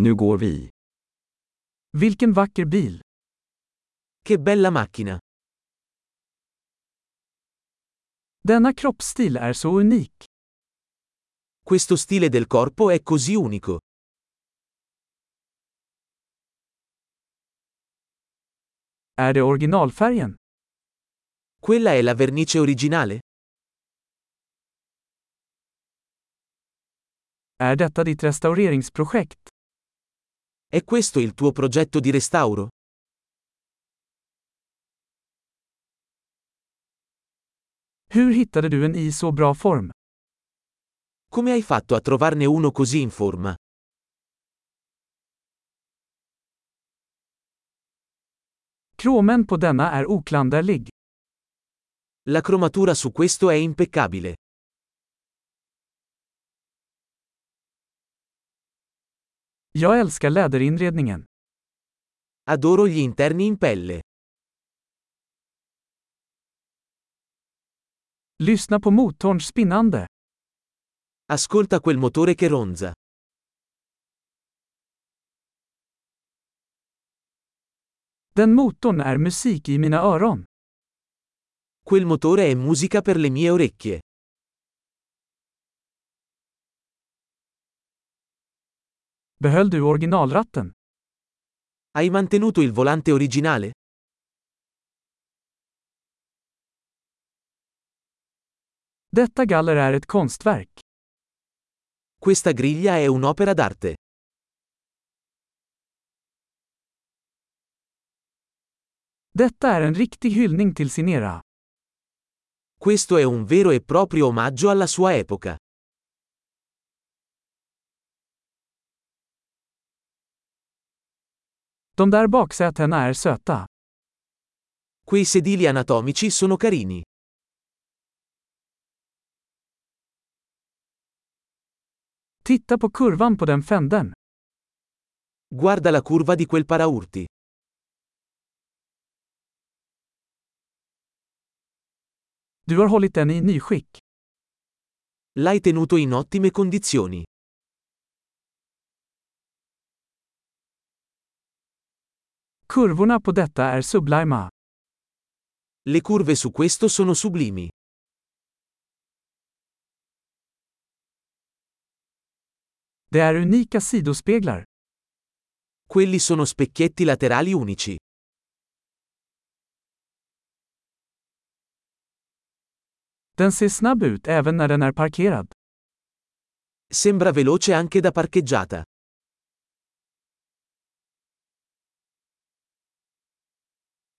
Nu går vi. Vilken vacker bil! Che bella macchina! Denna kroppsstil är så unik. Questo stile del corpo è così unico. Är det originalfärgen? Quella è la vernice originale? Är detta ditt restaureringsprojekt? È questo il tuo progetto di restauro? Hur hittade du en i så bra form? Come hai fatto a trovarne uno così in forma? Kromen på denna är oklanderlig. La cromatura su questo è impeccabile. Jag älskar läderinredningen. Adoro gli interni in pelle. Lyssna på motorns spinnande. Ascolta quel motore che ronza. Den motorn är musik i mina öron. Quel motore è musica per le mie orecchie. Behöll du originalratten? Hai mantenuto il volante originale? Detta galler är ett konstverk. Questa griglia è un'opera d'arte. Detta är en riktig hyllning till sin era. Questo è un vero e proprio omaggio alla sua epoca. De där baksätena är söta. Quei sedili anatomici sono carini. Titta på kurvan på den fänden. Guarda la curva di quel paraurti. Du har hållit den i nyskick. L'hai tenuto in ottime condizioni. Kurvorna på detta är sublima. Le curve su questo sono sublimi. Det är unika sidospeglar. Quelli sono specchietti laterali unici. Den ser snabb ut även när den är parkerad. Sembra veloce anche da parcheggiata.